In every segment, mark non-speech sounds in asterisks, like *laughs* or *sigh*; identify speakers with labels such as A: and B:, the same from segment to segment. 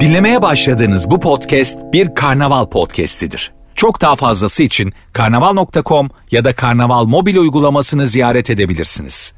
A: Dinlemeye başladığınız bu podcast bir karnaval podcastidir. Çok daha fazlası için karnaval.com ya da karnaval mobil uygulamasını ziyaret edebilirsiniz.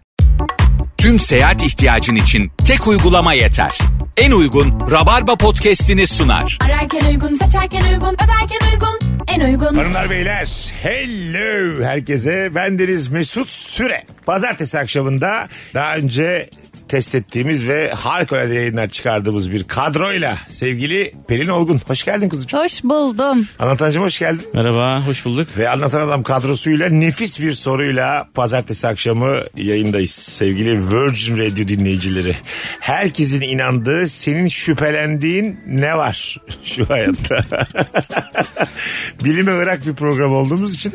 A: Tüm seyahat ihtiyacın için tek uygulama yeter. En uygun Rabarba podcastini sunar.
B: Ararken uygun, seçerken uygun, öderken uygun, en uygun.
C: Hanımlar beyler hello herkese ben Deniz Mesut Süre. Pazartesi akşamında daha önce test ettiğimiz ve harikulade yayınlar çıkardığımız bir kadroyla sevgili Pelin Olgun. Hoş geldin kuzucuğum.
D: Hoş buldum.
C: Anlatancım hoş geldin.
E: Merhaba, hoş bulduk.
C: Ve Anlatan Adam kadrosuyla nefis bir soruyla pazartesi akşamı yayındayız sevgili Virgin Radio dinleyicileri. Herkesin inandığı senin şüphelendiğin ne var *laughs* şu hayatta? *laughs* Bilime ırak bir program olduğumuz için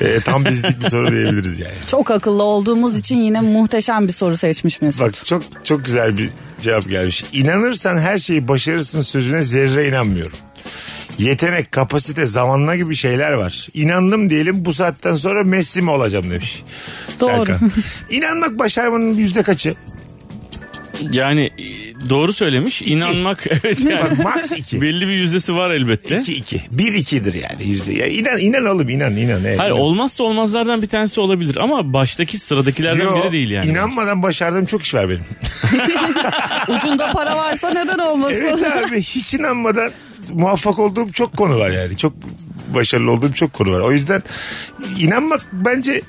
C: e, tam bizlik bir soru diyebiliriz yani.
D: Çok akıllı olduğumuz için yine muhteşem bir soru seçmiş Mesut.
C: Bak çok çok güzel bir cevap gelmiş. İnanırsan her şeyi başarırsın sözüne zerre inanmıyorum. Yetenek, kapasite, zamanla gibi şeyler var. İnandım diyelim bu saatten sonra Messi mi olacağım demiş.
D: Doğru.
C: Serkan. İnanmak başarmanın yüzde kaçı?
E: Yani e, doğru söylemiş. İnanmak *laughs* evet yani.
C: Bak max 2.
E: Belli bir yüzdesi var elbette.
C: 2 2. 1 2'dir yani yüzde. Ya inan inan oğlum inan inan. Evet,
E: Hayır
C: inan.
E: olmazsa olmazlardan bir tanesi olabilir ama baştaki sıradakilerden
C: Yo,
E: biri değil yani.
C: İnanmadan başardığım çok iş var benim.
D: Ucunda para varsa neden
C: Evet
D: olmasın?
C: abi hiç inanmadan muvaffak olduğum çok konu var yani. Çok başarılı olduğum çok konu var. O yüzden inanmak bence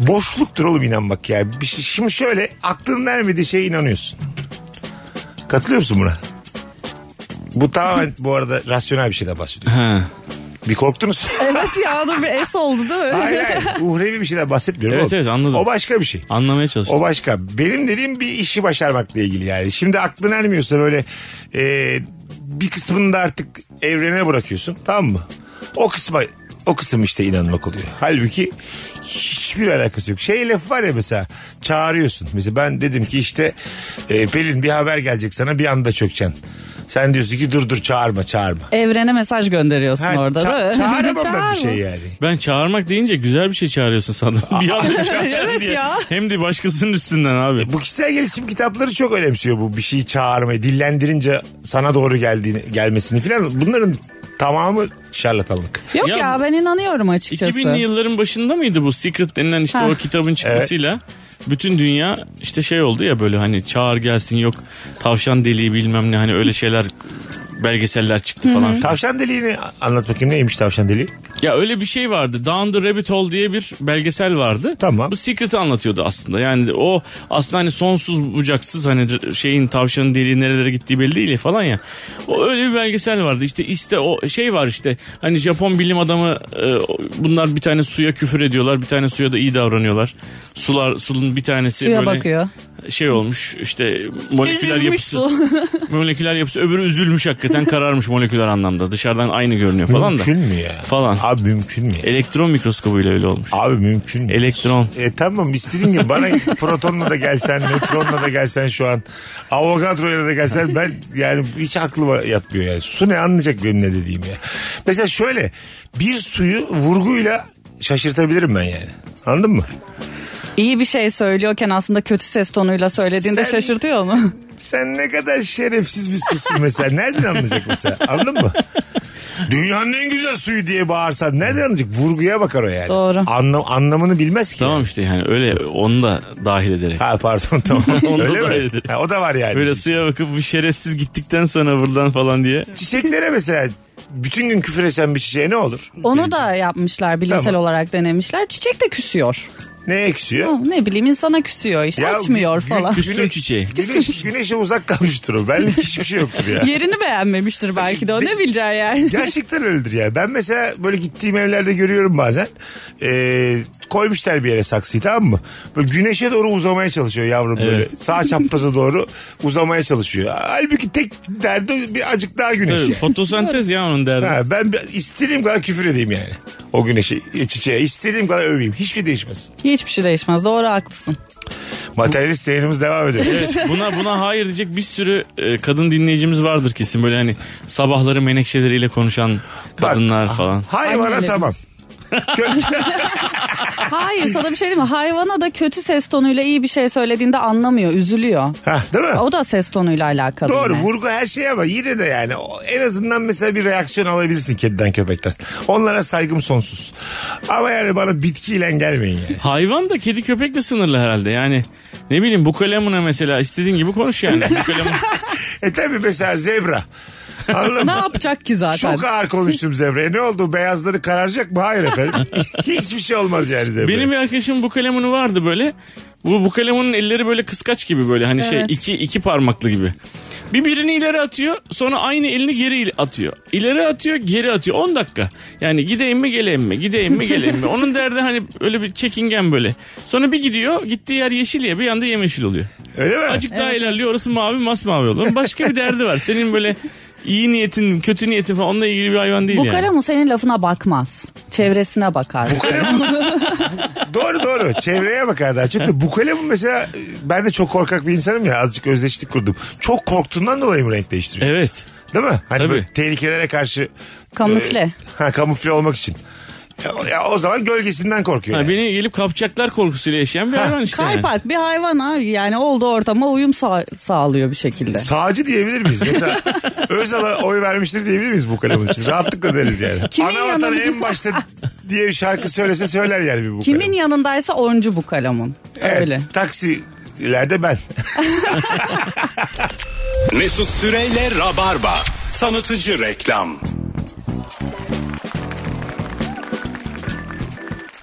C: boşluktur oğlum inanmak ya. Bir şey- Şimdi şöyle aklın vermediği şeye inanıyorsun. Katılıyor musun buna? Bu tamamen bu arada rasyonel bir şeyden bahsediyorum.
E: Ha.
C: Bir korktunuz.
D: evet ya dur bir S oldu değil mi?
C: hayır hayır. Uhrevi bir şeyden bahsetmiyorum
E: Evet,
C: oğlum.
E: evet, anladım.
C: O başka bir şey.
E: Anlamaya çalıştım.
C: O başka. Benim dediğim bir işi başarmakla ilgili yani. Şimdi aklın ermiyorsa böyle e, bir kısmını da artık evrene bırakıyorsun. Tamam mı? O kısma o kısım işte inanmak oluyor. Halbuki hiçbir alakası yok. Şey lafı var ya mesela çağırıyorsun. Mesela ben dedim ki işte e, Pelin bir haber gelecek sana bir anda çökeceksin. Sen diyorsun ki dur dur çağırma çağırma.
D: Evrene mesaj gönderiyorsun
C: Ha,
D: orada
C: ça-
D: *laughs* değil
C: çağıramam ben
D: mi? Çağırma.
C: bir şey yani.
E: Ben çağırmak deyince güzel bir şey çağırıyorsun sandım. bir anda çağıracağım
D: Evet
E: diye.
D: ya.
E: Hem de başkasının üstünden abi.
C: Bu kişisel gelişim kitapları çok önemsiyor bu bir şeyi çağırmayı, dillendirince sana doğru geldiğini, gelmesini filan. Bunların tamamı şarlatanlık.
D: Yok ya,
E: Ya-
D: ben inanıyorum açıkçası.
E: 2000'li yılların başında mıydı bu Secret denilen işte
D: Ha.
E: o kitabın çıkmasıyla bütün dünya işte şey oldu ya böyle hani çağır gelsin yok tavşan deliği bilmem ne hani öyle şeyler belgeseller çıktı falan filan.
C: Tavşan deliğini anlat bakayım neymiş tavşan deliği?
E: Ya öyle bir şey vardı. Down the Rabbit Hole diye bir belgesel vardı.
C: Tamam.
E: Bu Secret'ı anlatıyordu aslında. Yani o aslında hani sonsuz bucaksız hani r- şeyin tavşanın deliği nerelere gittiği belli değil ya falan ya. O öyle bir belgesel vardı. İşte işte o şey var işte hani Japon bilim adamı e, o- bunlar bir tane suya küfür ediyorlar. Bir tane suya da iyi davranıyorlar. Sular sulun bir tanesi
D: Suya
E: böyle
D: bakıyor.
E: şey olmuş işte moleküler
D: Üzülmüş
E: yapısı.
D: su.
E: *laughs* moleküler yapısı öbürü üzülmüş hakikaten kararmış moleküler anlamda. Dışarıdan aynı görünüyor falan da.
C: mümkün mü ya?
E: Falan.
C: Abi mümkün mü? ya?
E: Elektron mikroskobuyla öyle olmuş.
C: Abi mümkün mü?
E: Elektron.
C: E tamam istediğin gibi bana *laughs* protonla da gelsen, nötronla da gelsen şu an, avogadroyla da gelsen ben yani hiç aklıma yatmıyor yani. Su ne anlayacak benim ne dediğimi ya. Mesela şöyle bir suyu vurguyla şaşırtabilirim ben yani. Anladın mı?
D: İyi bir şey söylüyorken aslında kötü ses tonuyla söylediğinde
C: Sen- *laughs*
D: şaşırtıyor mu?
C: Sen ne kadar şerefsiz bir susun mesela. Nereden anlayacak mesela? Anladın mı? Dünyanın en güzel suyu diye bağırsan nereden anlayacak? Vurguya bakar o yani.
D: Doğru.
C: Anlam, anlamını bilmez ki.
E: Tamam işte yani öyle onu da dahil ederek.
C: Ha şey. pardon
E: *laughs*
C: tamam.
E: Onu da
C: Öyle mi?
E: öyle dedi.
C: Ha, o da var yani.
E: Böyle suya bakıp bu şerefsiz gittikten sonra buradan falan diye.
C: Çiçeklere mesela bütün gün küfür esen bir çiçeğe ne olur?
D: Onu da yapmışlar bilimsel
C: Tamam.
D: olarak denemişler. Çiçek de küsüyor.
C: Neye küsüyor?
D: Hı, Ne bileyim insana küsüyor işte
C: Ya
D: açmıyor
C: gü-
D: falan.
C: gü-
E: Küstüm çiçeği.
C: Güneş, güneşe uzak kalmıştır o. Benlik hiçbir şey yoktur
D: *laughs*
C: ya.
D: Yerini beğenmemiştir belki de o ne bileceksin yani.
C: Gerçekten öyledir ya. Ben mesela böyle gittiğim evlerde görüyorum bazen. Ee, koymuşlar bir yere saksıyı tamam mı? Böyle güneşe doğru uzamaya çalışıyor yavrum böyle.
E: Evet.
C: Sağ çapraza doğru uzamaya çalışıyor. Halbuki tek derdi bir acık daha güneş.
E: Tabii,
C: yani.
E: fotosentez ya onun derdi.
C: Ha, ben bir- istediğim kadar küfür edeyim yani. O güneşe, çiçeğe istediğim kadar öveyim. Hiçbir değişmez.
D: Hiçbir şey değişmez doğru haklısın.
C: Materyalist yayınımız devam ediyor.
E: Evet, buna buna hayır diyecek bir sürü e, kadın dinleyicimiz vardır kesin. Böyle hani sabahları menekşeleriyle konuşan
C: Bak,
E: kadınlar falan.
C: Hayvana
D: Annelerimiz.
C: tamam. *laughs*
D: Hayır sana bir şey değil mi? Hayvana da kötü ses tonuyla iyi bir şey söylediğinde anlamıyor, üzülüyor.
C: Hah, değil mi?
D: O da ses tonuyla alakalı.
C: Doğru
D: yine.
C: vurgu her şey ama yine de yani o- en azından mesela bir reaksiyon alabilirsin kediden köpekten. Onlara saygım sonsuz. Ama yani bana bitkiyle gelmeyin yani.
E: Hayvan da kedi köpek de sınırlı herhalde yani. Ne bileyim bu kalemuna mesela istediğin gibi konuş yani. Bu kalemuna-
C: E tabi mesela zebra. Anladın
E: *laughs*
D: Ne
C: mı?
D: yapacak ki zaten?
C: Çok ağır konuştum zebraya. Ne oldu? Beyazları kararacak mı? Hayır efendim. *laughs* Hiçbir şey olmaz yani zebraya.
E: Benim bir arkadaşım bu kalemunu vardı böyle. Bu bu kalemunun elleri böyle kıskaç gibi böyle hani şey
D: Evet.
E: iki iki parmaklı gibi. Bir birini ileri atıyor sonra aynı elini geri il- atıyor. İleri atıyor geri atıyor 10 dakika. Yani gideyim mi geleyim mi gideyim mi geleyim
D: *laughs*
E: mi. Onun derdi hani öyle bir çekingen böyle. Sonra bir gidiyor gittiği yer yeşil ya bir anda yemyeşil oluyor.
C: Öyle mi? *laughs*
E: Azıcık daha ilerliyor orası mavi masmavi oluyor. Başka bir derdi var. Senin böyle iyi niyetin kötü niyetin falan onunla ilgili bir hayvan değil
D: Bu
E: yani.
D: kalemun senin lafına bakmaz. Çevresine bakar.
C: doğru doğru. Çevreye bakar daha. Çünkü bu kalem mesela ben de çok korkak bir insanım ya. Azıcık özdeşlik kurdum. Çok korktuğundan dolayı mı renk değiştiriyor?
E: Evet.
C: Değil mi? Hani
E: Tabii.
C: böyle tehlikelere karşı
D: Kamufle.
C: e, *laughs* ha, kamufle olmak için. Ya, ya o zaman gölgesinden korkuyor.
E: Ha,
C: yani.
E: beni gelip kapacaklar korkusuyla yaşayan bir hayvan işte. yani.
D: Kaypak bir hayvan abi yani olduğu ortama uyum sağ- sağlıyor bir şekilde.
C: Sağcı diyebilir miyiz? Mesela Özal'a oy vermiştir diyebilir miyiz bu kalemun için? Rahatlıkla deriz yani.
D: *laughs* Kimin
C: Ana vatanı
D: yanında-
C: en başta diye bir şarkı söylese söyler yani bir bu
D: Kimin
C: kalemun.
D: yanındaysa oncu bu kalemun.
C: Evet,
D: Öyle.
C: Taksilerde ben.
F: Mesut Süreyle Rabarba. Tanıtıcı reklam.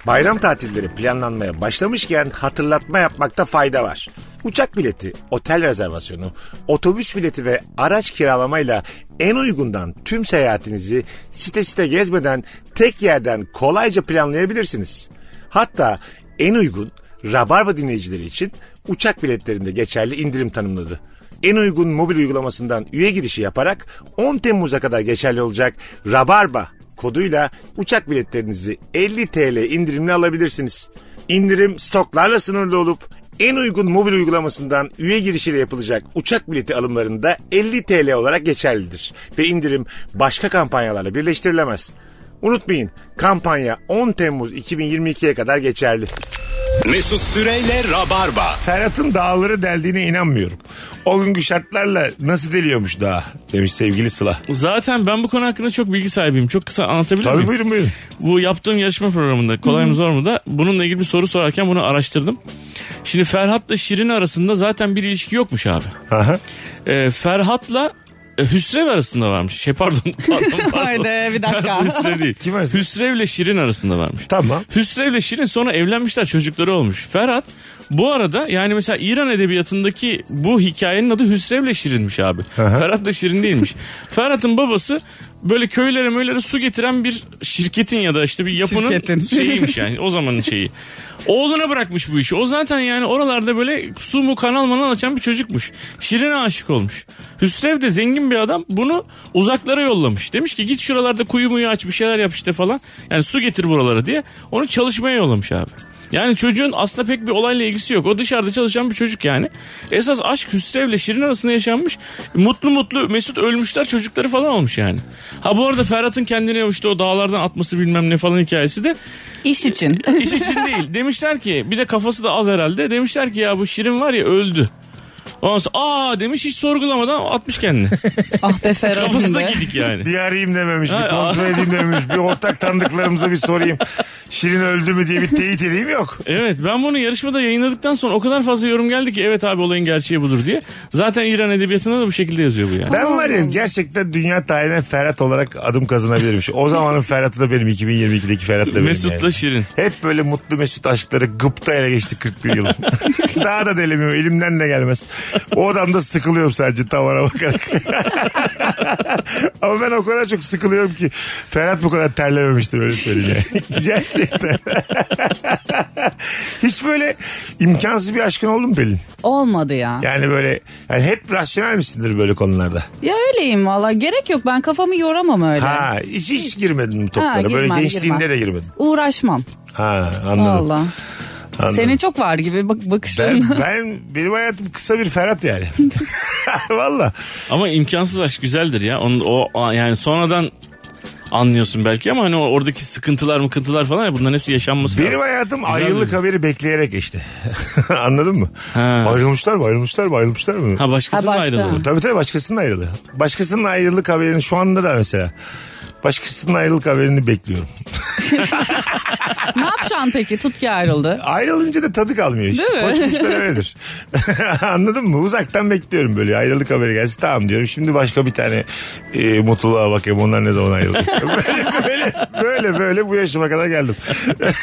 G: Bayram tatilleri planlanmaya başlamışken hatırlatma yapmakta fayda var. Uçak bileti, otel rezervasyonu, otobüs bileti ve araç kiralamayla en uygundan tüm seyahatinizi site site gezmeden tek yerden kolayca planlayabilirsiniz. Hatta en uygun Rabarba dinleyicileri için uçak biletlerinde geçerli indirim tanımladı. En uygun mobil uygulamasından üye girişi yaparak 10 Temmuz'a kadar geçerli olacak Rabarba koduyla uçak biletlerinizi 50 TL indirimle alabilirsiniz. İndirim stoklarla sınırlı olup en uygun mobil uygulamasından üye girişiyle yapılacak uçak bileti alımlarında 50 TL olarak geçerlidir. Ve indirim başka kampanyalarla birleştirilemez. Unutmayın kampanya 10 Temmuz 2022'ye kadar geçerli.
F: Mesut Süreyle Rabarba.
C: Ferhat'ın dağları deldiğine inanmıyorum. O günkü şartlarla nasıl deliyormuş dağ demiş sevgili Sıla.
E: Zaten ben bu konu hakkında çok bilgi sahibiyim. Çok kısa anlatabilir
C: Tabii
E: miyim?
C: buyurun buyurun.
E: Bu yaptığım yarışma programında kolay mı zor mu da bununla ilgili bir soru sorarken bunu araştırdım. Şimdi Ferhat'la Şirin arasında zaten bir ilişki yokmuş abi.
C: Aha.
E: Ee, Ferhat'la e, Hüsrev arasında varmış. Şey pardon *laughs* pardon pardon.
D: Haydi bir dakika.
E: Hüsrev değil.
C: Kim arasında?
E: Hüsrev'le Şirin arasında varmış.
C: Tamam.
E: Hüsrev'le Şirin sonra evlenmişler çocukları olmuş. Ferhat bu arada yani mesela İran edebiyatındaki bu hikayenin adı Hüsrev'le Şirin'miş abi. Ferhat da
C: *laughs*
E: Şirin değilmiş. Ferhat'ın babası böyle köylere möylere su getiren bir şirketin ya da işte bir yapının
D: Şirketin.
E: şeyiymiş yani o zamanın şeyi. Oğluna bırakmış bu işi. O zaten yani oralarda böyle su mu kanal manal açan bir çocukmuş. Şirin'e aşık olmuş. Hüsrev de zengin bir adam bunu uzaklara yollamış. Demiş ki git şuralarda kuyu muyu aç bir şeyler yap işte falan. Yani su getir buralara diye. Onu çalışmaya yollamış abi. Yani çocuğun aslında pek bir olayla ilgisi yok. O dışarıda çalışan bir çocuk yani. Esas aşk Hüsrev'le Şirin arasında yaşanmış. Mutlu mutlu Mesut ölmüşler çocukları falan olmuş yani. Ha bu arada Ferhat'ın kendine işte o dağlardan atması bilmem ne falan hikayesi de
D: İş için.
E: İş için değil. Demişler ki bir de kafası da az herhalde. Demişler ki ya bu Şirin var ya öldü. Ondan sonra aa demiş hiç sorgulamadan
C: *laughs*
E: atmış kendini.
D: ah be Ferhat'ım
E: Kafası da
D: be.
E: gidik yani.
C: Bir arayayım dememiş, bir
E: Ha,
C: kontrol edeyim dememiş, bir ortak tanıdıklarımıza bir sorayım. Şirin öldü mü diye bir teyit edeyim yok.
E: Evet ben bunu yarışmada yayınladıktan sonra o kadar fazla yorum geldi ki evet abi olayın gerçeği budur diye. Zaten İran edebiyatında da bu şekilde yazıyor bu yani.
C: Ben var ya gerçekten dünya tarihine Ferhat olarak adım kazanabilirmiş. O zamanın Ferhat'ı da benim 2022'deki Ferhat da benim.
E: Mesut'la
C: yani.
E: Şirin.
C: Hep böyle mutlu mesut aşkları gıpta ele geçti 41 yıl. *laughs* Daha da delemiyor. Elimden de gelmez. O adamda sıkılıyorum sadece tavana bakarak. *laughs* Ama ben o kadar çok sıkılıyorum ki Ferhat bu kadar terlememiştir öyle
D: *laughs*
C: söyleyeyim. Gerçekten. Hiç böyle imkansız bir aşkın oldu mu Pelin?
D: Olmadı ya.
C: Yani böyle yani hep rasyonel misindir böyle konularda?
D: Ya öyleyim valla. Gerek yok ben kafamı yoramam öyle.
C: Ha hiç hiç girmedin bu toplara.
D: Ha, girmem,
C: Böyle gençliğinde
D: girmem.
C: de girmedin.
D: Uğraşmam.
C: Ha anladım.
D: Valla.
C: anladım.
D: Senin çok var gibi bak bakışların.
C: ben, ben benim hayatım kısa bir Ferhat yani. *laughs* Valla.
E: Ama imkansız aşk güzeldir ya. Onun, o, yani sonradan anlıyorsun belki ama hani o- oradaki sıkıntılar mıkıntılar falan ya bunların hepsi yaşanması
C: Benim
E: lazım.
C: hayatım
E: Güzel
C: ayrılık
E: dedim.
C: haberi bekleyerek geçti. *laughs* Anladın mı?
E: Ha.
C: Ayrılmışlar mı ayrılmışlar mı ayrılmışlar mı?
E: Ha başkasının
D: Ha, başka.
E: ayrılığı.
C: Tabii tabii başkasının ayrılığı. Başkasının ayrılık haberini şu anda da mesela. Başkasının ayrılık haberini bekliyorum.
D: *laughs* ne yapacaksın peki? Tutki ayrıldı.
C: Ayrılınca da tadı kalmıyor işte.
D: Değil mi?
C: Koç
D: *laughs*
C: kuşlar öyledir. *laughs* Anladın mı? Uzaktan bekliyorum böyle ayrılık haberi gelsin. Tamam diyorum şimdi başka bir tane e, mutluluğa bakayım onlar ne zaman ayrılacak.
D: *laughs*
C: böyle, böyle, böyle böyle bu yaşıma kadar geldim. *laughs*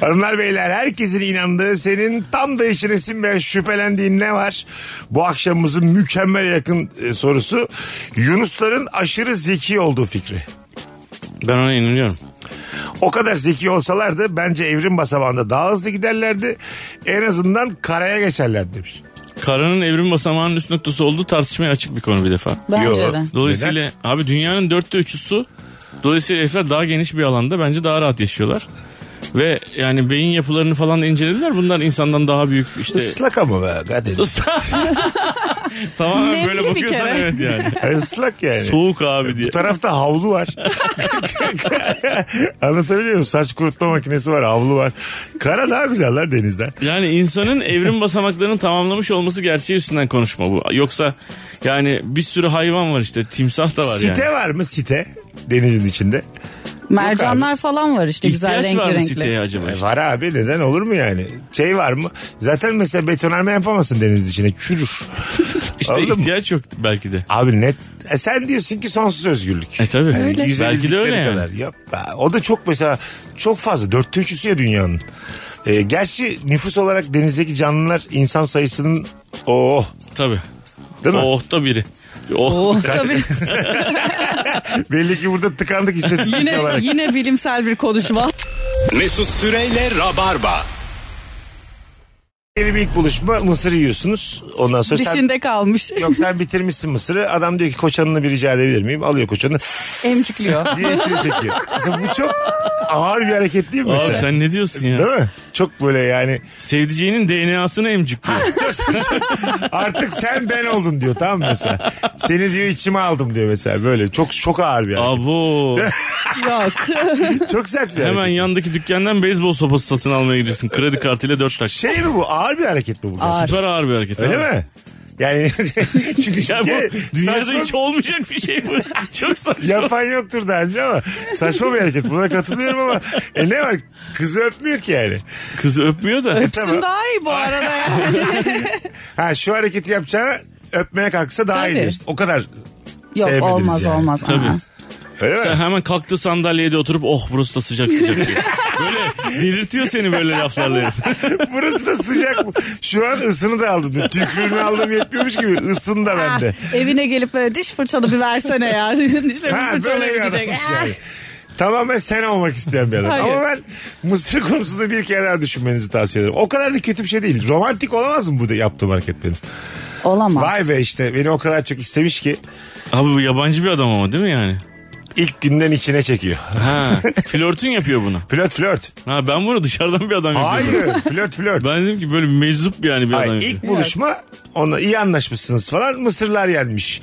C: Hanımlar beyler herkesin inandığı senin tam da işin resim ve şüphelendiğin ne var? Bu akşamımızın mükemmel yakın e, sorusu Yunusların aşırı zeki olduğu fikri.
E: Ben ona inanıyorum.
C: O kadar zeki olsalardı bence evrim basamağında daha hızlı giderlerdi. En azından karaya geçerlerdi demiş.
E: Karanın evrim basamağının üst noktası olduğu tartışmaya açık bir konu bir defa.
D: Bence
C: Yok.
D: de.
E: Dolayısıyla abi dünyanın dörtte üçü su. Dolayısıyla herifler daha geniş bir alanda bence daha rahat yaşıyorlar. Ve yani beyin yapılarını falan da incelediler. Bunlar insandan daha büyük işte...
C: Islak ama be hadi.
E: *laughs* Tamamen
D: Nemli
E: böyle
D: bir
E: bakıyorsan
D: kere.
E: evet yani.
C: Ay, Islak yani.
E: Soğuk abi diye.
C: Bu tarafta havlu var. *laughs* Anlatabiliyor muyum? Saç kurutma makinesi var, havlu var. Kara daha güzel lan denizden.
E: Yani insanın evrim basamaklarını tamamlamış olması gerçeği üstünden konuşma bu. Yoksa yani bir sürü hayvan var işte. Timsah da var
C: Site
E: yani.
C: var mı site? Denizin içinde.
D: Mercanlar falan var işte güzel
E: İhtiyaç var
D: renkli
E: mı
D: renkli.
E: siteye acaba işte?
C: E, Var abi neden olur mu yani? Şey var mı? Zaten mesela betonarme yapamazsın deniz içinde.
E: *laughs*
C: Çürür.
E: İşte
C: Anladın mı?
E: ihtiyaç yok belki de.
C: Abi net. E sen diyorsun ki sonsuz özgürlük.
E: E tabii.
C: Yani Hani yüz
E: Belki de
C: ellilikleri
E: öyle yani.
C: kadar. Ya, o da çok mesela çok fazla. Dörtte üçüsü ya dünyanın. E, gerçi nüfus olarak denizdeki canlılar insan sayısının o
E: Tabii.
C: değil mi?
E: Oh'ta biri. Oh.
D: Oo, *laughs* tabii.
C: *laughs* Belli ki burada tıkandık istatistik
D: yine,
C: olarak.
D: yine bilimsel bir konuşma.
F: Mesut Süreyle Rabarba.
C: Yeni bir ilk buluşma mısır yiyorsunuz. Ondan sonra sen,
D: Dişinde
C: *laughs*
D: kalmış.
C: yok sen bitirmişsin mısırı. Adam diyor ki koçanını bir rica edebilir miyim? Alıyor koçanını *laughs*
D: Emcikliyor.
C: diye içine çekiyor. Mesela bu çok ağır bir hareket değil mi?
E: Abi
C: mesela?
E: sen ne diyorsun ya?
C: Değil mi? Çok böyle yani
E: Sevdiceğinin DNA'sını emcikliyor.
C: artık sen ben oldun diyor tamam mı mesela. Seni diyor içime aldım diyor mesela böyle. Çok çok ağır bir hareket. *laughs*
E: Abo.
D: Yok.
C: Çok sert bir
E: Hemen
C: hareket.
E: yandaki dükkandan beyzbol sopası satın almaya gidiyorsun. Kredi kartıyla 4 taş.
C: Şey mi bu ağır bir hareket mi bu?
E: Süper ağır bir hareket.
C: Öyle
E: abi.
C: mi? Yani *laughs* çünkü şey,
E: Ya bu dünyada
C: saçma-
E: hiç olmayacak bir şey bu.
C: *laughs*
E: Çok saçma.
C: Yapan yoktur daha önce ama saçma bir hareket. Buna katılıyorum ama e ne var? Kızı öpmüyor ki yani.
E: Kızı öpmüyor da.
D: Öpsün daha iyi bu arada yani.
C: Ha şu hareketi yapacağına öpmeye kalksa daha iyi
D: Tabii.
C: diyorsun. O kadar
D: Yok
C: sevmediniz
D: olmaz
C: yani.
D: olmaz.
E: Tabii.
D: Aa.
C: Öyle mi?
E: Sen hemen kalktı sandalyede oturup oh burası da sıcak
C: *laughs*
E: sıcak diyor. Böyle belirtiyor seni böyle laflarla. herif.
C: Burası da sıcak. Şu an ısını da aldım. Tükrünü aldım yetmiyormuş gibi ısın da
D: Ah,
C: bende.
D: evine gelip böyle diş fırçalı bir versene ya. *laughs* Dişlerimi
C: Ha böyle bir
D: fırçalayıp gidecek. Ah, *laughs*
C: adammış yani. Tamamen sen olmak isteyen bir adam.
D: Hayır.
C: Ama ben mısır konusunda bir kere daha düşünmenizi tavsiye ederim. O kadar da kötü bir şey değil. Romantik olamaz mı burada yaptığım hareket benim?
D: Ah, Olamaz.
C: Vay be işte beni o kadar çok istemiş ki
E: Abi bu yabancı bir adam ama değil mi yani?
C: ilk günden içine çekiyor. *laughs*
E: Ha, flörtün yapıyor bunu.
C: Flört flört.
E: Ha ben bunu dışarıdan bir adam yapıyorum.
C: Hayır flört flört.
E: Ben dedim ki böyle meczup yani bir adam
C: Hayır,
E: yapıyor.
C: ilk buluşma onunla iyi anlaşmışsınız falan mısırlar yenmiş.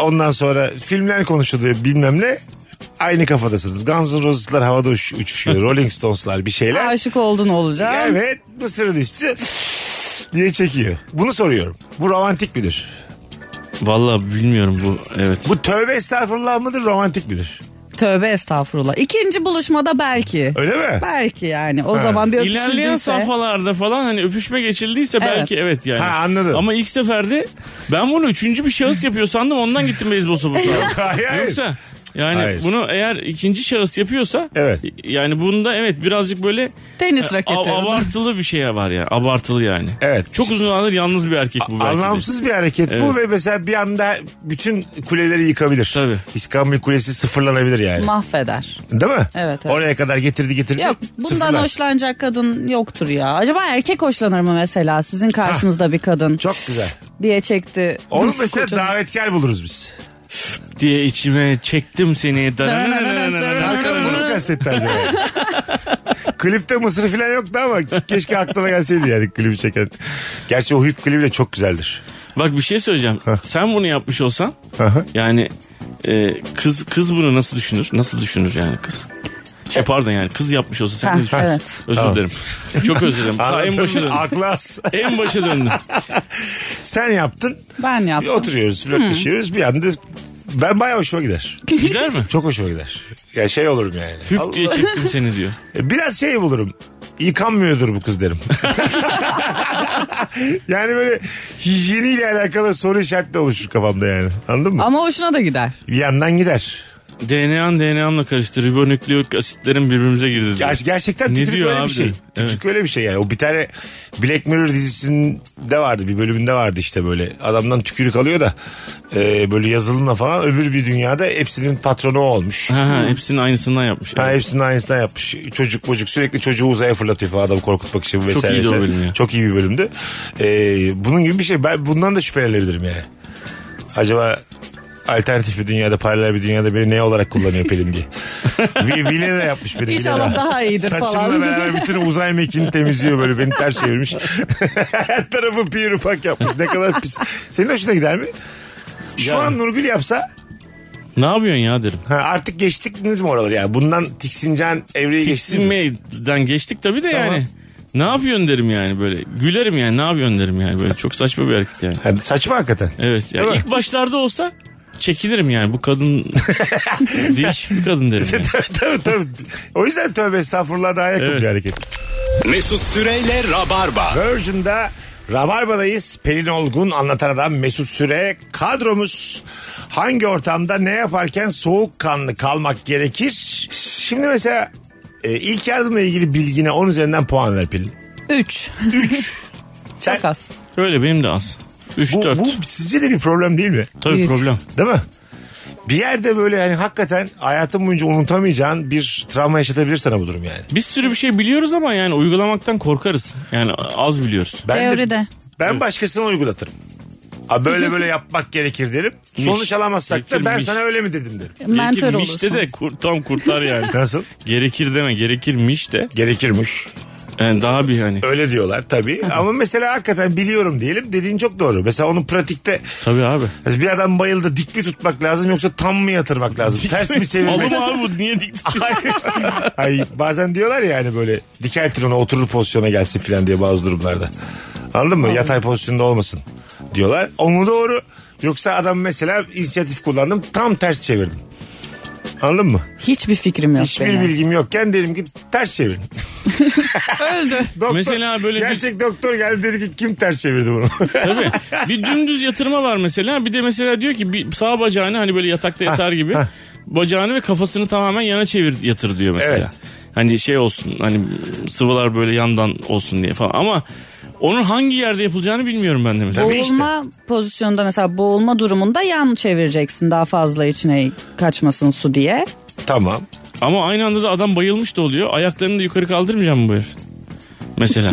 C: Ondan sonra filmler konuşuluyor bilmem ne. Aynı kafadasınız. Guns N' Roses'lar havada uç- uçuşuyor. Rolling Stones'lar bir şeyler.
D: Aşık oldun olacak.
C: evet mısırın üstü diye çekiyor. Bunu soruyorum. Bu romantik midir?
E: Vallahi bilmiyorum bu evet.
C: Bu tövbe estağfurullah mıdır romantik midir?
D: Tövbe estağfurullah. İkinci buluşmada belki.
C: Öyle mi?
D: Belki yani. O zaman bir öpüşüldüyse.
E: İlerleyen safhalarda falan hani öpüşme geçildiyse
D: Evet.
E: belki evet yani.
C: Ha, anladım.
E: Ama ilk seferde ben bunu üçüncü bir şahıs yapıyor sandım ondan gittim beyzbol sopası aldım.
C: Hayır, hayır.
E: Yoksa yani
C: Hayır.
E: bunu eğer ikinci şahıs yapıyorsa
C: Evet.
E: yani bunda evet birazcık böyle
D: Tenis raketi.
E: a- abartılı bir şey var ya abartılı yani.
C: Evet.
E: Çok uzun zamandır yalnız bir erkek bu belki de.
C: Anlamsız bir hareket bu
E: Evet.
C: ve mesela bir anda bütün kuleleri yıkabilir.
E: Tabii.
C: İskambil Kulesi sıfırlanabilir yani.
D: Mahveder.
C: Değil mi?
D: Evet, evet.
C: Oraya kadar getirdi getirdi.
D: Yok bundan
C: Sıfırlar.
D: hoşlanacak kadın yoktur ya. Acaba erkek hoşlanır mı mesela sizin karşınızda bir kadın
C: Çok güzel.
D: diye çekti.
C: Onu
D: Nasıl
C: mesela
D: kocanız?
C: davetker buluruz biz.
E: diye içime çektim seni.
C: Tarkan bunu mu kastetti
D: *laughs*
C: acaba? Klipte mısır falan yoktu ama keşke aklına gelseydi yani klibi çeken. Gerçi o hüp klibi de çok güzeldir.
E: Bak bir şey söyleyeceğim. Sen bunu yapmış olsan
C: Aha.
E: yani e, kız kız bunu nasıl düşünür? Nasıl düşünür yani kız? Şey pardon yani kız yapmış olsa sen
D: Ha,
E: ne düşünürsün?
D: evet.
E: Özür dilerim. Çok özür dilerim. Ta en
C: Anladın
E: başa
C: mı?
E: döndüm.
C: Aklı az.
E: en başa döndüm.
C: Sen yaptın.
D: Ben
C: Bir
D: yaptım.
C: oturuyoruz, flörtleşiyoruz. Bir anda ben bayağı hoşuma gider.
E: Gider mi?
C: Çok hoşuma gider. Ya şey olurum yani. Allah-
E: Hüp diye çektim seni diyor.
C: Biraz şey bulurum. Yıkanmıyordur bu kız
D: *laughs*
C: derim. yani böyle hijyeniyle alakalı soru işareti de oluşur kafamda yani. Anladın mı?
D: Ama hoşuna da gider.
C: Bir yandan gider.
E: DNA'n DNA'mla karıştı. Ribonükleik asitlerin birbirimize girdi diyor.
C: Ger- gerçekten
E: Ne
C: tükürük
E: diyor
C: öyle bir
E: abi
C: şey.
E: de?
C: Tükürük öyle bir şey yani. O bir tane Black Mirror dizisinde vardı. Bir bölümünde vardı işte böyle. Adamdan tükürük alıyor da e, böyle yazılımla falan öbür bir dünyada hepsinin patronu o olmuş.
E: Ha, ha, hepsinin aynısından yapmış.
C: Ha, hepsini aynısından yapmış. Çocuk bocuk sürekli çocuğu uzaya fırlatıyor falan adamı korkutmak için vesaire.
E: iyiydi o
C: vesaire.
E: bölüm ya.
C: Çok iyi bir bölümdü. Ee, bunun gibi bir şey. Ben bundan da şüphelenebilirim yani. Acaba alternatif bir dünyada paralel bir dünyada beni ne olarak kullanıyor Pelin
E: *laughs*
C: diye. Vi- Vile de yapmış beni.
D: İnşallah
C: Vile de.
D: daha iyidir
C: Saçımla
D: falan.
C: beraber bütün uzay mekiğini temizliyor böyle beni ters çevirmiş. *laughs* Her tarafı pir ufak yapmış. Ne kadar pis. Senin hoşuna gider mi? Şu
E: Yani.
C: an Nurgül yapsa
E: Ne yapıyorsun ya derim.
C: Ha, artık geçtiniz mi oraları ya? Bundan tiksineceğin evreyi geçtiniz mi?
E: Tiksinmeden geçtik tabii de
C: Tamam.
E: yani. Ne yapıyorsun derim yani böyle. Gülerim yani ne yapıyorsun derim yani böyle. Çok saçma bir hareket yani.
C: Ha, saçma hakikaten.
E: Evet
C: Değil
E: yani
C: mi?
E: ilk başlarda olsa çekinirim yani.
C: *laughs*
E: Bu kadın değişik bir kadın derim yani.
C: *laughs* tabii, tabii, tabii. O yüzden tövbe estağfurullah daha yakın
E: Evet.
C: bir hareket.
F: Mesut Süreyle Rabarba.
C: Virgin'da Rabarba'dayız. Pelin Olgun, Anlatan Adam, Mesut Süre. Kadromuz hangi ortamda ne yaparken soğukkanlı kalmak gerekir? Şimdi mesela e, ilk yardımla ilgili bilgine 10 üzerinden puan ver Pelin.
D: Üç.
C: Sen-
D: *laughs* Çok az.
E: Öyle benim de az.
C: Bu,
E: 3-4.
C: bu sizce de bir problem değil mi?
E: Tabii
D: Büyük.
E: problem.
C: Değil mi? Bir yerde böyle yani hakikaten hayatın boyunca unutamayacağın bir travma yaşatabilir sana bu durum yani.
E: Bir sürü bir şey biliyoruz ama yani uygulamaktan korkarız. Yani az biliyoruz.
C: Ben de-
D: Teoride.
C: ben başkasına uygulatırım. Aa, böyle böyle yapmak gerekir derim.
E: Miş.
C: Sonuç alamazsak da
E: Gerekir
C: ben
E: miş.
C: sana öyle mi dedim derim.
D: Mentor
E: Gerekir
D: olursun.
E: mişte de kur- tam
C: *laughs*
E: kurtar yani.
C: Nasıl?
E: Gerekir deme gerekirmiş de.
C: Gerekirmiş.
E: Yani daha bir hani.
C: Öyle diyorlar tabii. Ama mesela hakikaten biliyorum diyelim dediğin çok doğru. Mesela onun pratikte
E: Tabii abi.
C: mesela bir adam bayıldı dik mi tutmak lazım yoksa tam mı yatırmak lazım? Ters mi çevirmek?
E: Oğlum abi bu niye dik tutuyor?
C: Hayır. Ay, bazen diyorlar ya hani böyle dikeltin onu oturur pozisyona gelsin filan diye bazı durumlarda. Anladın mı? Yatay pozisyonda olmasın diyorlar. Onu doğru. Yoksa adam mesela inisiyatif kullandım tam ters çevirdim. Anladın mı?
D: Hiçbir fikrim yok
C: Hiçbir
D: benim.
C: bilgim yokken derim ki ters çevirin.
D: Öldü.
C: Doktor,
E: Mesela böyle bir-
C: gerçek doktor geldi dedi ki kim ters çevirdi bunu?
E: Tabii. *laughs* Bir dümdüz yatırma var mesela. Bir de mesela diyor ki bir sağ bacağını hani böyle yatakta yatar gibi bacağını ve kafasını tamamen yana çevir yatır diyor mesela.
C: Evet.
E: Hani şey olsun hani sıvılar böyle yandan olsun diye falan ama onun hangi yerde yapılacağını bilmiyorum ben de
C: *laughs*
E: mesela.
C: Tabii işte.
D: Boğulma pozisyonda mesela boğulma durumunda yan çevireceksin daha fazla içine kaçmasın su diye.
C: *laughs* tamam.
E: Ama aynı anda da adam bayılmış da oluyor. Ayaklarını da yukarı kaldırmayacak mı bu herif?
C: *laughs*
E: Mesela.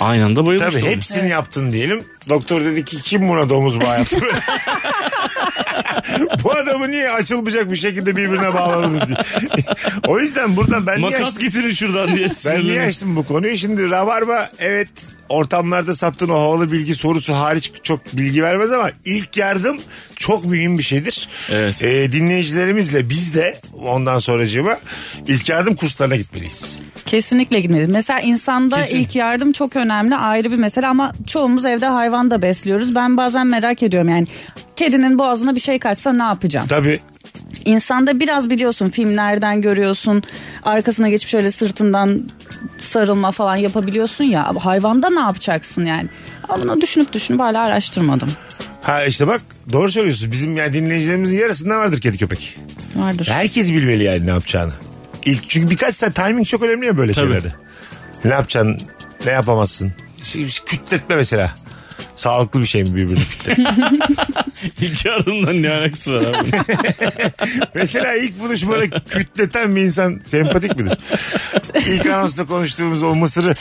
E: aynı anda bayılmış da
C: Tabii
E: oluyor.
C: hepsini yaptın diyelim. Doktor dedi ki kim buna domuz bağı yaptı? *laughs* Bu adamı niye açılmayacak bir şekilde birbirine bağladınız diye. o yüzden buradan ben niye
E: Makas
C: açtım?
E: getirin şuradan diye.
C: *laughs* Ben niye
E: sinirleniyor.
C: açtım bu konuyu? Şimdi Rabarba evet ortamlarda sattığın o havalı bilgi sorusu hariç çok bilgi vermez ama ilk yardım çok mühim bir şeydir.
E: Evet.
C: Ee, dinleyicilerimizle biz de ondan sonracığıma ilk yardım kurslarına gitmeliyiz.
D: Kesinlikle gitmedi. Mesela insanda
E: Kesin.
D: ilk yardım çok önemli ayrı bir mesele ama çoğumuz evde hayvan da besliyoruz. Ben bazen merak ediyorum yani kedinin boğazına bir şey kaçsa ne yapacağım?
C: Tabii.
D: İnsanda biraz biliyorsun filmlerden görüyorsun arkasına geçip şöyle sırtından sarılma falan yapabiliyorsun ya hayvanda ne yapacaksın yani? Ama bunu düşünüp düşünüp hala araştırmadım.
C: Ha işte bak doğru söylüyorsun. Bizim yani dinleyicilerimizin yarısında vardır kedi köpek.
D: Vardır.
C: Herkes bilmeli yani ne yapacağını. İlk çünkü birkaç saat timing çok önemli ya böyle
E: Tabii.
C: şeylerde. Ne yapacaksın? Ne yapamazsın? Şey- Kütletme mesela. Sağlıklı bir şey mi birbirini kütle?
E: *laughs* İki adımdan ne alakası var abi?
C: mesela ilk buluşmada kütleten bir insan sempatik midir? İlk anonsta konuştuğumuz o mısırı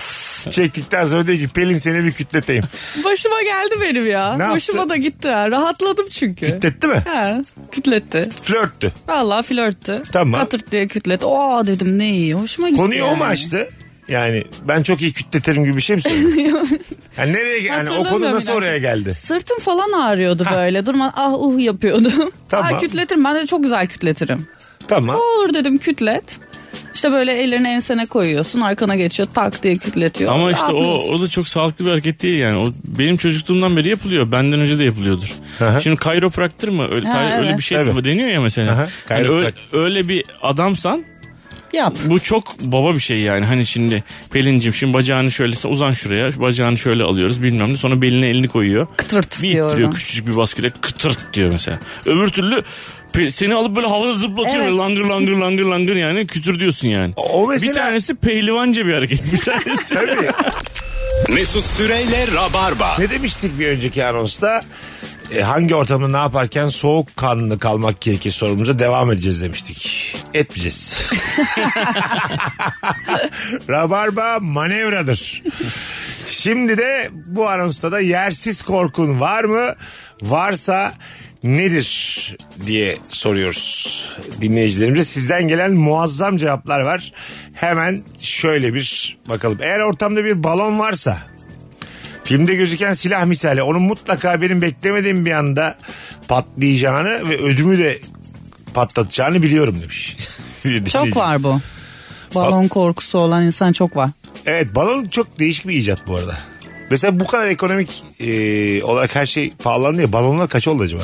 C: çektikten sonra diyor ki Pelin seni bir kütleteyim.
D: Başıma geldi benim ya.
C: Ne yaptı?
D: Başıma da gitti. ha. Rahatladım çünkü.
C: Kütletti mi?
D: Ha, kütletti.
C: Flörttü.
D: Vallahi flörttü.
C: Tamam.
D: Katırt diye kütletti. Aa dedim ne iyi. Hoşuma gitti.
C: Konuyu o mu
D: yani.
C: açtı? Yani ben çok iyi kütletirim gibi bir şey mi
D: *laughs*
C: söylüyorsun? yani nereye yani o konu
D: Hatırlamıyorum
C: nasıl
D: inan.
C: oraya geldi?
D: Sırtım falan ağrıyordu böyle. Durma ah uh *laughs* yapıyordum.
C: Tamam.
D: Ah kütletirim. Ben de çok güzel kütletirim.
C: Tamam.
D: Olur dedim kütlet. İşte böyle ellerini ensene koyuyorsun. Arkana geçiyor. Tak diye kütletiyor. Ah,
E: Ama işte o,
D: Rahatlıyorsun.
E: o da çok sağlıklı bir hareket değil yani. O benim çocukluğumdan beri yapılıyor. Benden önce de yapılıyordur. Şimdi kayropraktır mı? Öyle,
D: Ha,
E: tay- öyle
D: evet.
E: bir şey
C: Tabii.
E: deniyor ya mesela.
C: Aha,
E: Hani ö- öyle,
C: kayropraktik.
E: bir adamsan
D: Yap.
E: bu çok baba bir şey yani. Hani şimdi Pelin'cim şimdi bacağını şöyle uzan şuraya. şu Bacağını şöyle alıyoruz bilmem ne. Sonra beline elini koyuyor.
D: Kıtırt
E: Bir ittiriyor
D: diyorum.
E: küçücük bir baskıyla kıtırt diyor mesela. Öbür türlü pe- seni alıp böyle havada zıplatıyor.
D: Evet.
E: Langır langır langır langır yani kütür diyorsun yani.
C: O mesela-
E: Bir tanesi pehlivanca bir
C: *laughs*
E: hareket. Bir tanesi
C: Tabii.
F: Mesut Süreyle Rabarba.
C: Ne demiştik bir önceki anonsta? E, hangi ortamda ne yaparken soğuk kanlı kalmak gerekir sorumuza devam edeceğiz demiştik. Etmeyeceğiz. *laughs* Rabarba manevradır. Şimdi de bu anonsta da yersiz korkun var mı? Varsa nedir diye soruyoruz dinleyicilerimize. Sizden gelen muazzam cevaplar var. Hemen şöyle bir bakalım. Eğer ortamda bir balon varsa Filmde gözüken silah misali onun mutlaka benim beklemediğim bir anda patlayacağını ve ödümü de patlatacağını biliyorum
D: *laughs*
C: demiş. Bir
D: Çok
C: dinleyici.
D: var bu. Balon korkusu olan insan çok var.
C: Evet balon çok değişik bir icat bu arada. Mesela bu kadar ekonomik e, olarak her şey pahalandı ya balonlar kaç oldu acaba?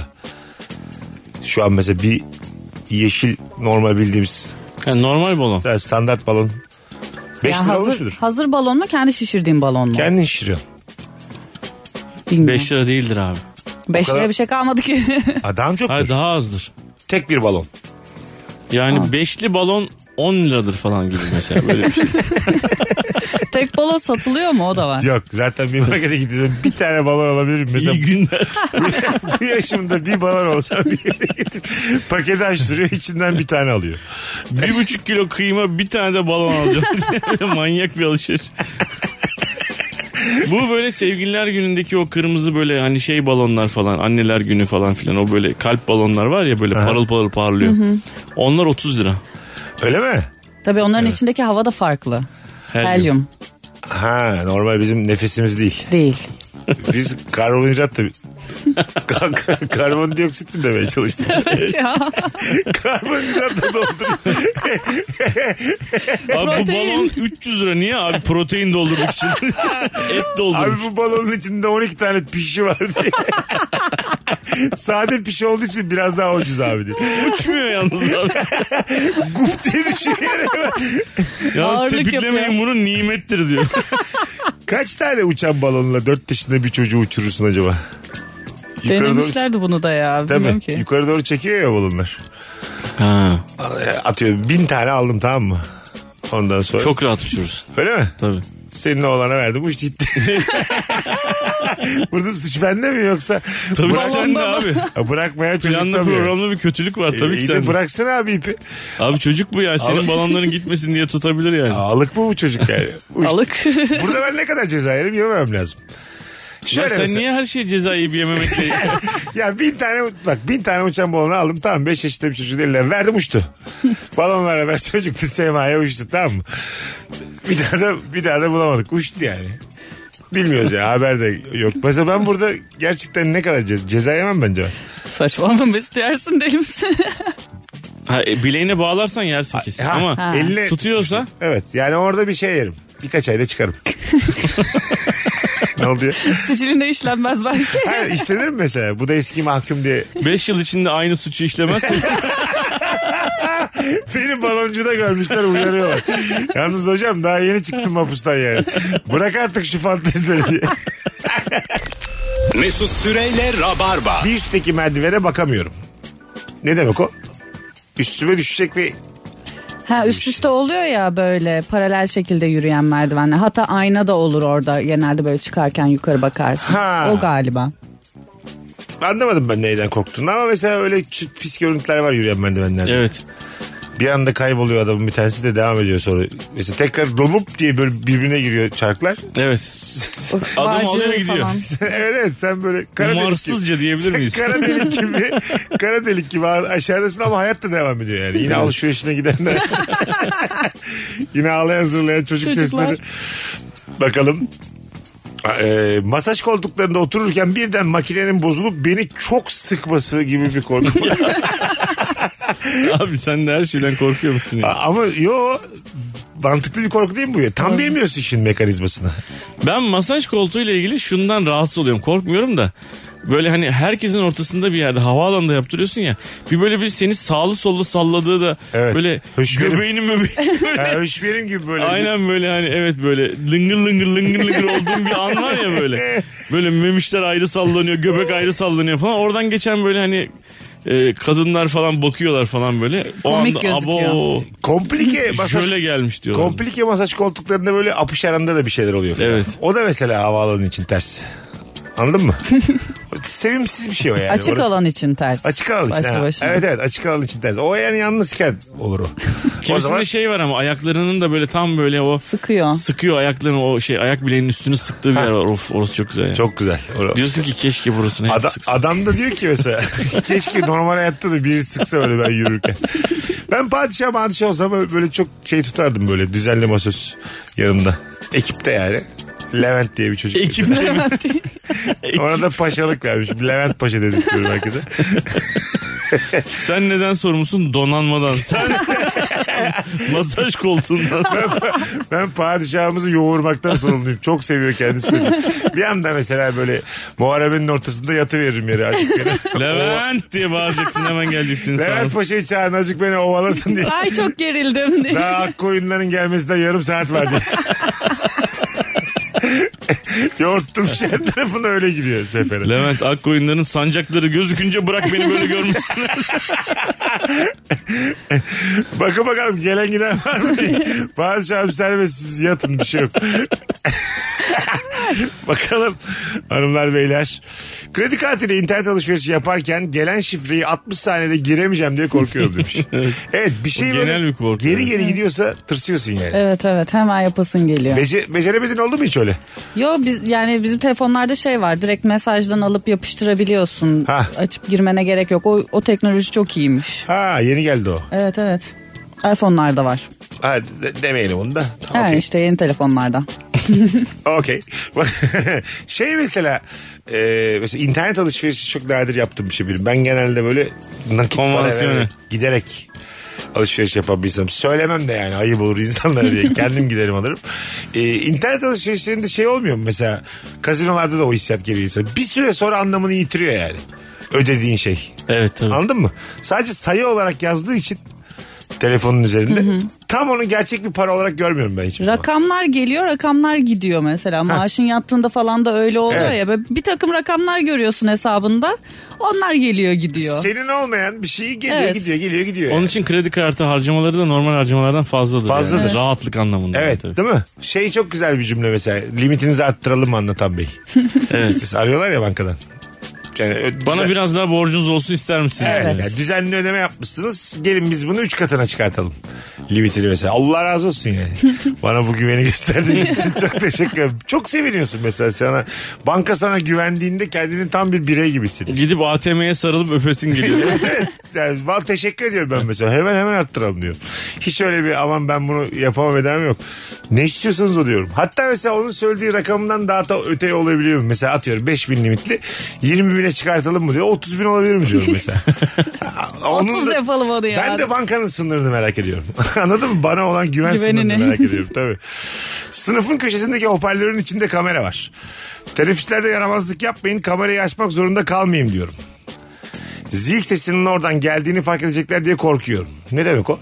C: Şu an mesela bir yeşil normal bildiğimiz
E: Yani normal balon.
C: e, standart balon 5
D: Ya
C: lira olmuş
D: hazır,
C: mudur?
D: hazır balon mu kendi şişirdiğin balon mu?
C: Kendin şişiriyorsun.
D: Bilmiyorum.
E: 5 lira değildir *laughs* abi.
D: Beş
C: o kadar-
D: lira bir şey kalmadı ki. *laughs*
C: Adam çok
E: Hayır daha azdır.
C: tek bir balon.
E: Yani beşli balon 10 liradır falan gibi mesela böyle bir şey.
D: Tek balon satılıyor mu o da var.
C: Yok zaten bir markete gittiğimde bir tane balon alabilirim. Mesela
E: *laughs* İyi günler.
C: bu yaşımda bir balon *laughs* olsa bir yere gidip paketi açtırıyor içinden bir tane alıyor.
E: *laughs* bir buçuk kilo kıyma bir tane de balon alacağım. *laughs* Böyle Manyak bir alışveriş. Bu böyle sevgililer günündeki o kırmızı böyle hani şey balonlar falan anneler günü falan filan o böyle kalp balonlar var ya böyle parıl parıl parlıyor. Onlar 30 lira.
C: Öyle mi?
D: Tabii onların içindeki hava da farklı.
E: Helyum.
D: Helyum
C: Ha normal bizim nefesimiz değil.
D: değil.
C: Biz karbonhidrat da *laughs* Kar- kar- karbondioksit mi demeye çalıştım?
D: Ya. *laughs*
C: karbonhidrat da doldurdum.
E: Abi bu
D: Protein.
E: balon 300 lira niye abi protein doldurduk
D: *laughs*
E: şimdi. Et doldurduk.
C: Abi bu balonun içinde 12 tane pişi var diye. *laughs* Sade pişi olduğu için biraz daha ucuz abi diye. *laughs*
E: uçmuyor yalnız abi.
C: Gup diye şey düşüyor yere.
E: Yalnız
D: Ağırlık
E: tepiklemeyin bunu nimettir diyor.
C: Kaç tane uçan balonla 4 yaşında bir çocuğu uçurursun acaba? Yukarı doğru-
D: Denemişlerdi bunu da ya. Bilmiyorum
C: Tabii.
D: ki.
C: Yukarı doğru çekiyor ya balonlar.
E: *laughs* Ha,
C: E, Atıyor bin tane aldım tamam mı? Ondan sonra.
E: çok rahat uçurursun
C: Öyle mi?
E: tabii.
C: Senin oğlana verdim uç
E: *laughs*
C: gitti. Burada suç bende mi yoksa?
E: Tabii
C: Bırak-
E: sen de abi.
C: Ha, Bırakmayan çocuk
E: Planlı
C: tabii.
E: programlı bir kötülük var tabii
C: İyi
E: ki
C: de
E: sen.
C: bıraksana abi ipi.
E: Abi çocuk bu ya. Senin balonların gitmesin diye tutabilir yani.
C: Ağalık mı bu çocuk yani? Uç-
D: *laughs* *laughs* Alık.
C: Burada ben ne kadar ceza yerim yememem lazım.
E: Ya
C: Şöyle
E: sen
C: mesela-
E: niye her şeye ceza
C: *laughs*
E: yiyip yememekle
C: Ya bin tane bak bin tane uçan balonu aldım tamam 5 yaşında bir çocuğun eline verdim uçtu. Balonlara ben çocuktu Sema'ya uçtu tamam mı? Bir daha da bir daha da bulamadık uçtu yani. Bilmiyoruz ya haber de yok. Mesela ben burada gerçekten ne kadar ce- ceza yemem bence. ben.
D: Saçmalama Mesut yersin deli misin? *laughs*
E: ha, e, bileğine bağlarsan yersin kesin.
C: Ha,
E: E, Ama
C: eline
E: tutuyorsa
C: Evet yani orada bir şey yerim. Birkaç ayda
E: *laughs*
C: çıkarım. ne oluyor?
D: Siciline işlenmez belki.
C: Hayır işlenir mi mesela? Bu da eski mahkum diye.
E: 5 yıl içinde aynı suçu işlemezsin.
C: Beni baloncuda görmüşler uyarıyorlar. Yalnız hocam daha yeni çıktım mapustan yani. Bırak artık şu fantezileri diye.
F: Mesut Süreyle Rabarba.
C: Bir üstteki merdivene bakamıyorum. Ne demek o? Üstüme düşecek ve
D: Ha üst üste oluyor ya böyle paralel şekilde yürüyen merdivenler. Hatta ayna da olur orada genelde böyle çıkarken yukarı bakarsın.
C: Ha.
D: O galiba.
C: anlamadım ben neyden korktuğunu ama mesela öyle ç- pis görüntüler var yürüyen merdivenlerde.
E: *laughs* evet.
C: Bir anda kayboluyor adamın bir tanesi de devam ediyor sonra. Mesela tekrar lobup diye böyle birbirine giriyor çarklar.
E: Evet. Adam
D: Bağcıları
E: alıyor ve gidiyor.
D: falan.
C: *laughs* evet evet sen böyle kara delik gibi-
E: Umarsızca diyebilir
C: Sen
E: miyiz?
C: Kara delik gibi,
E: *laughs*
C: kara delik gibi aşağıdasın ama hayat da devam ediyor yani. Yine alışverişine
E: *laughs*
C: gidenler. Yine ağlayan zırlayan çocuk
D: Çocuklar.
C: sesleri. Bakalım. Ee, masaj koltuklarında otururken birden makinenin bozulup beni çok sıkması gibi bir korku.
E: *laughs* *laughs* Abi sen de her şeyden korkuyor musun? ya?
C: A- Ama yo mantıklı bir korku değil mi bu ya? Tam bilmiyorsun işin
E: *laughs*
C: mekanizmasını.
E: Ben masaj koltuğuyla ilgili şundan rahatsız oluyorum. Korkmuyorum da. Böyle hani herkesin ortasında bir yerde havaalanında yaptırıyorsun ya. Bir böyle bir seni sağlı sollu salladığı da
C: Evet.
E: böyle
C: Hüşmerim.
E: göbeğini
C: *laughs*
E: möbeğini böyle
C: Ha, üç benim gibi böyle.
E: *laughs* Aynen böyle hani evet böyle lıngır lıngır lıngır lıngır olduğum bir an var ya böyle. Böyle memişler ayrı sallanıyor, göbek ayrı sallanıyor falan. Oradan geçen böyle hani e, kadınlar falan bakıyorlar falan böyle. O
D: Komik
E: anda
D: gözüküyor.
E: abo
C: Komplike E, masaj
E: şöyle gelmiş diyorlar.
C: Komplike masaj koltuklarında böyle apış aranda da bir şeyler oluyor. falan.
E: Evet.
C: O da mesela havaalanı için ters. Anladın
E: *laughs*
C: mı? Sevimsiz bir şey o yani.
D: Açık
C: Orası-
D: alan için ters.
C: Açık alan için.
D: Başlı
C: ha.
D: başına.
C: Evet evet açık alan için ters. O yani yalnızken olur o. o
E: Kimisinde
C: zaman
E: şey var ama ayaklarının da böyle tam böyle o
D: Sıkıyor.
E: sıkıyor ayaklarını o şey ayak bileğinin üstünü sıktığı bir yer var. Of orası çok güzel. Yani.
C: çok güzel. O-
E: Diyorsun ki keşke burasını
C: Ada-
E: *laughs* Ada, sıksın.
C: adam da diyor ki
E: *laughs*
C: mesela keşke normal hayatta da biri sıksa böyle ben yürürken. Ben padişah padişah olsam böyle- böyle çok şey tutardım böyle düzenli masöz yanımda. Ekipte yani. Levent diye bir çocuk.
E: Ekip diye bir-
C: Ona da paşalık vermiş. Levent Paşa dedirtiyorum herkese.
E: sen neden sorumlusun donanmadan sen *laughs* masaj koltuğundan
C: *laughs* Ben padişahımızı yoğurmaktan sorumluyum. Çok seviyor kendisi beni. Bir anda mesela böyle muharebenin ortasında yatıveririm yere azıcık beni.
E: Levent diye bağıracaksın hemen geleceksin. *laughs* sağ ol.
C: Levent Paşa'yı çağırın azıcık beni ovalasın
E: *laughs*
C: diye.
D: Ay çok gerildim diye.
C: Daha ak koyunların gelmesine yarım saat var
E: *laughs*
C: diye. *laughs* Yoğurttum şer tarafına öyle giriyor sefere.
E: Levent Akkoyunların sancakları gözükünce bırak beni böyle görmesin.
C: *laughs* Bakın bakalım gelen giden var
E: *laughs*
C: mı diye. Padişahım serbest siz yatın bir şey yok. bakalım hanımlar beyler. Kredi kartıyla internet alışverişi yaparken gelen şifreyi 60 saniyede giremeyeceğim diye korkuyorum
E: *laughs*
C: demiş. evet bir şey
E: genel
C: böyle
E: bir korku.
C: geri geri gidiyorsa tırsıyorsun yani.
D: Evet evet hemen yapasın geliyor.
C: Bece, beceremedin oldu mu hiç öyle?
D: Yo biz yani bizim telefonlarda şey var direkt mesajdan alıp yapıştırabiliyorsun.
C: Ha.
D: Açıp girmene gerek yok. O, o teknoloji çok iyiymiş.
C: Ha yeni geldi o.
D: Evet evet. iPhone'larda var.
C: Ha de- demeyelim onu da.
D: Ha
C: Okey.
D: işte yeni telefonlarda.
C: Okey. *laughs* şey mesela e, mesela internet alışverişi çok nadir yaptığım bir şey benim. Ben genelde böyle nakit para
E: Konvansiyonel.
C: vererek, giderek alışveriş yapabilsem. Söylemem de yani ayıp olur insanlara diye. Kendim giderim alırım. E, internet alışverişlerinde şey olmuyor mu mesela? Kazinolarda da o hissiyat geliyor insana. Bir süre sonra anlamını yitiriyor yani. Ödediğin şey.
E: evet tabii.
C: Anladın mı? Sadece sayı olarak yazdığı için telefonun üzerinde. Tam onu gerçek bir para olarak görmüyorum ben hiçbir zaman.
D: Rakamlar geliyor rakamlar gidiyor mesela. Maaşın yattığında falan da öyle oluyor
C: Evet.
D: ya. Böyle bir takım rakamlar görüyorsun hesabında. Onlar geliyor gidiyor.
C: Senin olmayan bir şeyi geliyor
D: Evet.
C: gidiyor geliyor gidiyor.
E: Onun için kredi kartı harcamaları da normal harcamalardan fazladır.
C: Fazladır.
E: Yani. Rahatlık anlamında.
C: Evet
E: Tabii.
C: değil mi? Şey çok güzel bir cümle mesela. Limitinizi arttıralım anlatan bey.
E: *laughs* Evet.
C: Siz arıyorlar ya bankadan. Yani ö-
E: Bana
C: düzen-
E: biraz daha borcunuz olsun ister misiniz?
C: Evet,
E: Yani.
C: yani düzenli ödeme yapmışsınız. Gelin biz bunu 3 katına çıkartalım. Limitini mesela. Allah razı olsun
E: *laughs*
C: yani. Bana bu güveni gösterdiğiniz için çok teşekkür ederim. Çok seviniyorsun mesela sana. Banka sana güvendiğinde kendini tam bir birey gibi hissediyorsun.
E: Gidip ATM'ye sarılıp öpesin geliyor.
C: *laughs* Yani val teşekkür ediyorum ben mesela. Hemen hemen arttıralım diyor. Hiç öyle bir aman ben bunu yapamam edemem yok. Ne istiyorsanız o diyorum. Hatta mesela onun söylediği rakamdan daha da öte olabiliyor. mu? Mesela atıyorum 5000 limitli 20 bine çıkartalım mı diyor. 30 bin olabilir mi diyorum mesela. Onun
D: 30 yapalım onu ya.
C: Ben de bankanın sınırını merak ediyorum. *laughs* Anladın mı? Bana olan güven
D: Güvenini.
C: sınırını
D: *laughs*
C: merak ediyorum. Tabii. Sınıfın köşesindeki hoparlörün içinde kamera var. Teneffüslerde yaramazlık yapmayın kamerayı açmak zorunda kalmayayım diyorum. Zil sesinin oradan geldiğini fark edecekler diye korkuyorum. Ne demek o?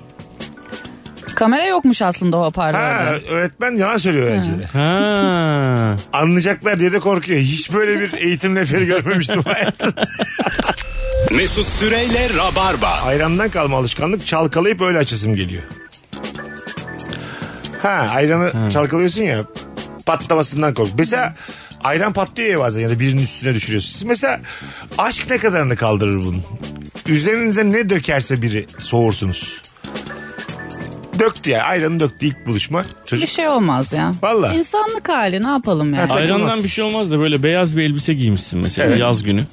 D: Kamera yokmuş aslında hoparlörde.
C: Ha, öğretmen yalan söylüyor öğrencilere.
E: ha.
C: Anlayacaklar diye de korkuyor. Hiç böyle bir eğitim neferi görmemiştim
D: *laughs*
C: hayatımda.
F: Mesut Süreyle Rabarba.
C: Ayrandan kalma alışkanlık çalkalayıp öyle açasım geliyor. Ha ayranı çalkalıyorsun ya patlamasından kork. Mesela ayran patlıyor ya bazen ya da birinin üstüne düşürüyorsun. Siz Mesela aşk ne kadarını kaldırır bunun? Üzerinize ne dökerse biri soğursunuz. döktü ya. Ayranı döktü ilk buluşma.
D: Bir
C: Çocuk
D: şey olmaz ya.
C: Vallahi.
D: İnsanlık hali ne yapalım ya.
C: Ha,
E: Ayrandan
C: takılmaz.
E: bir şey olmaz da böyle beyaz bir elbise giymişsin mesela
C: Evet.
E: yaz günü.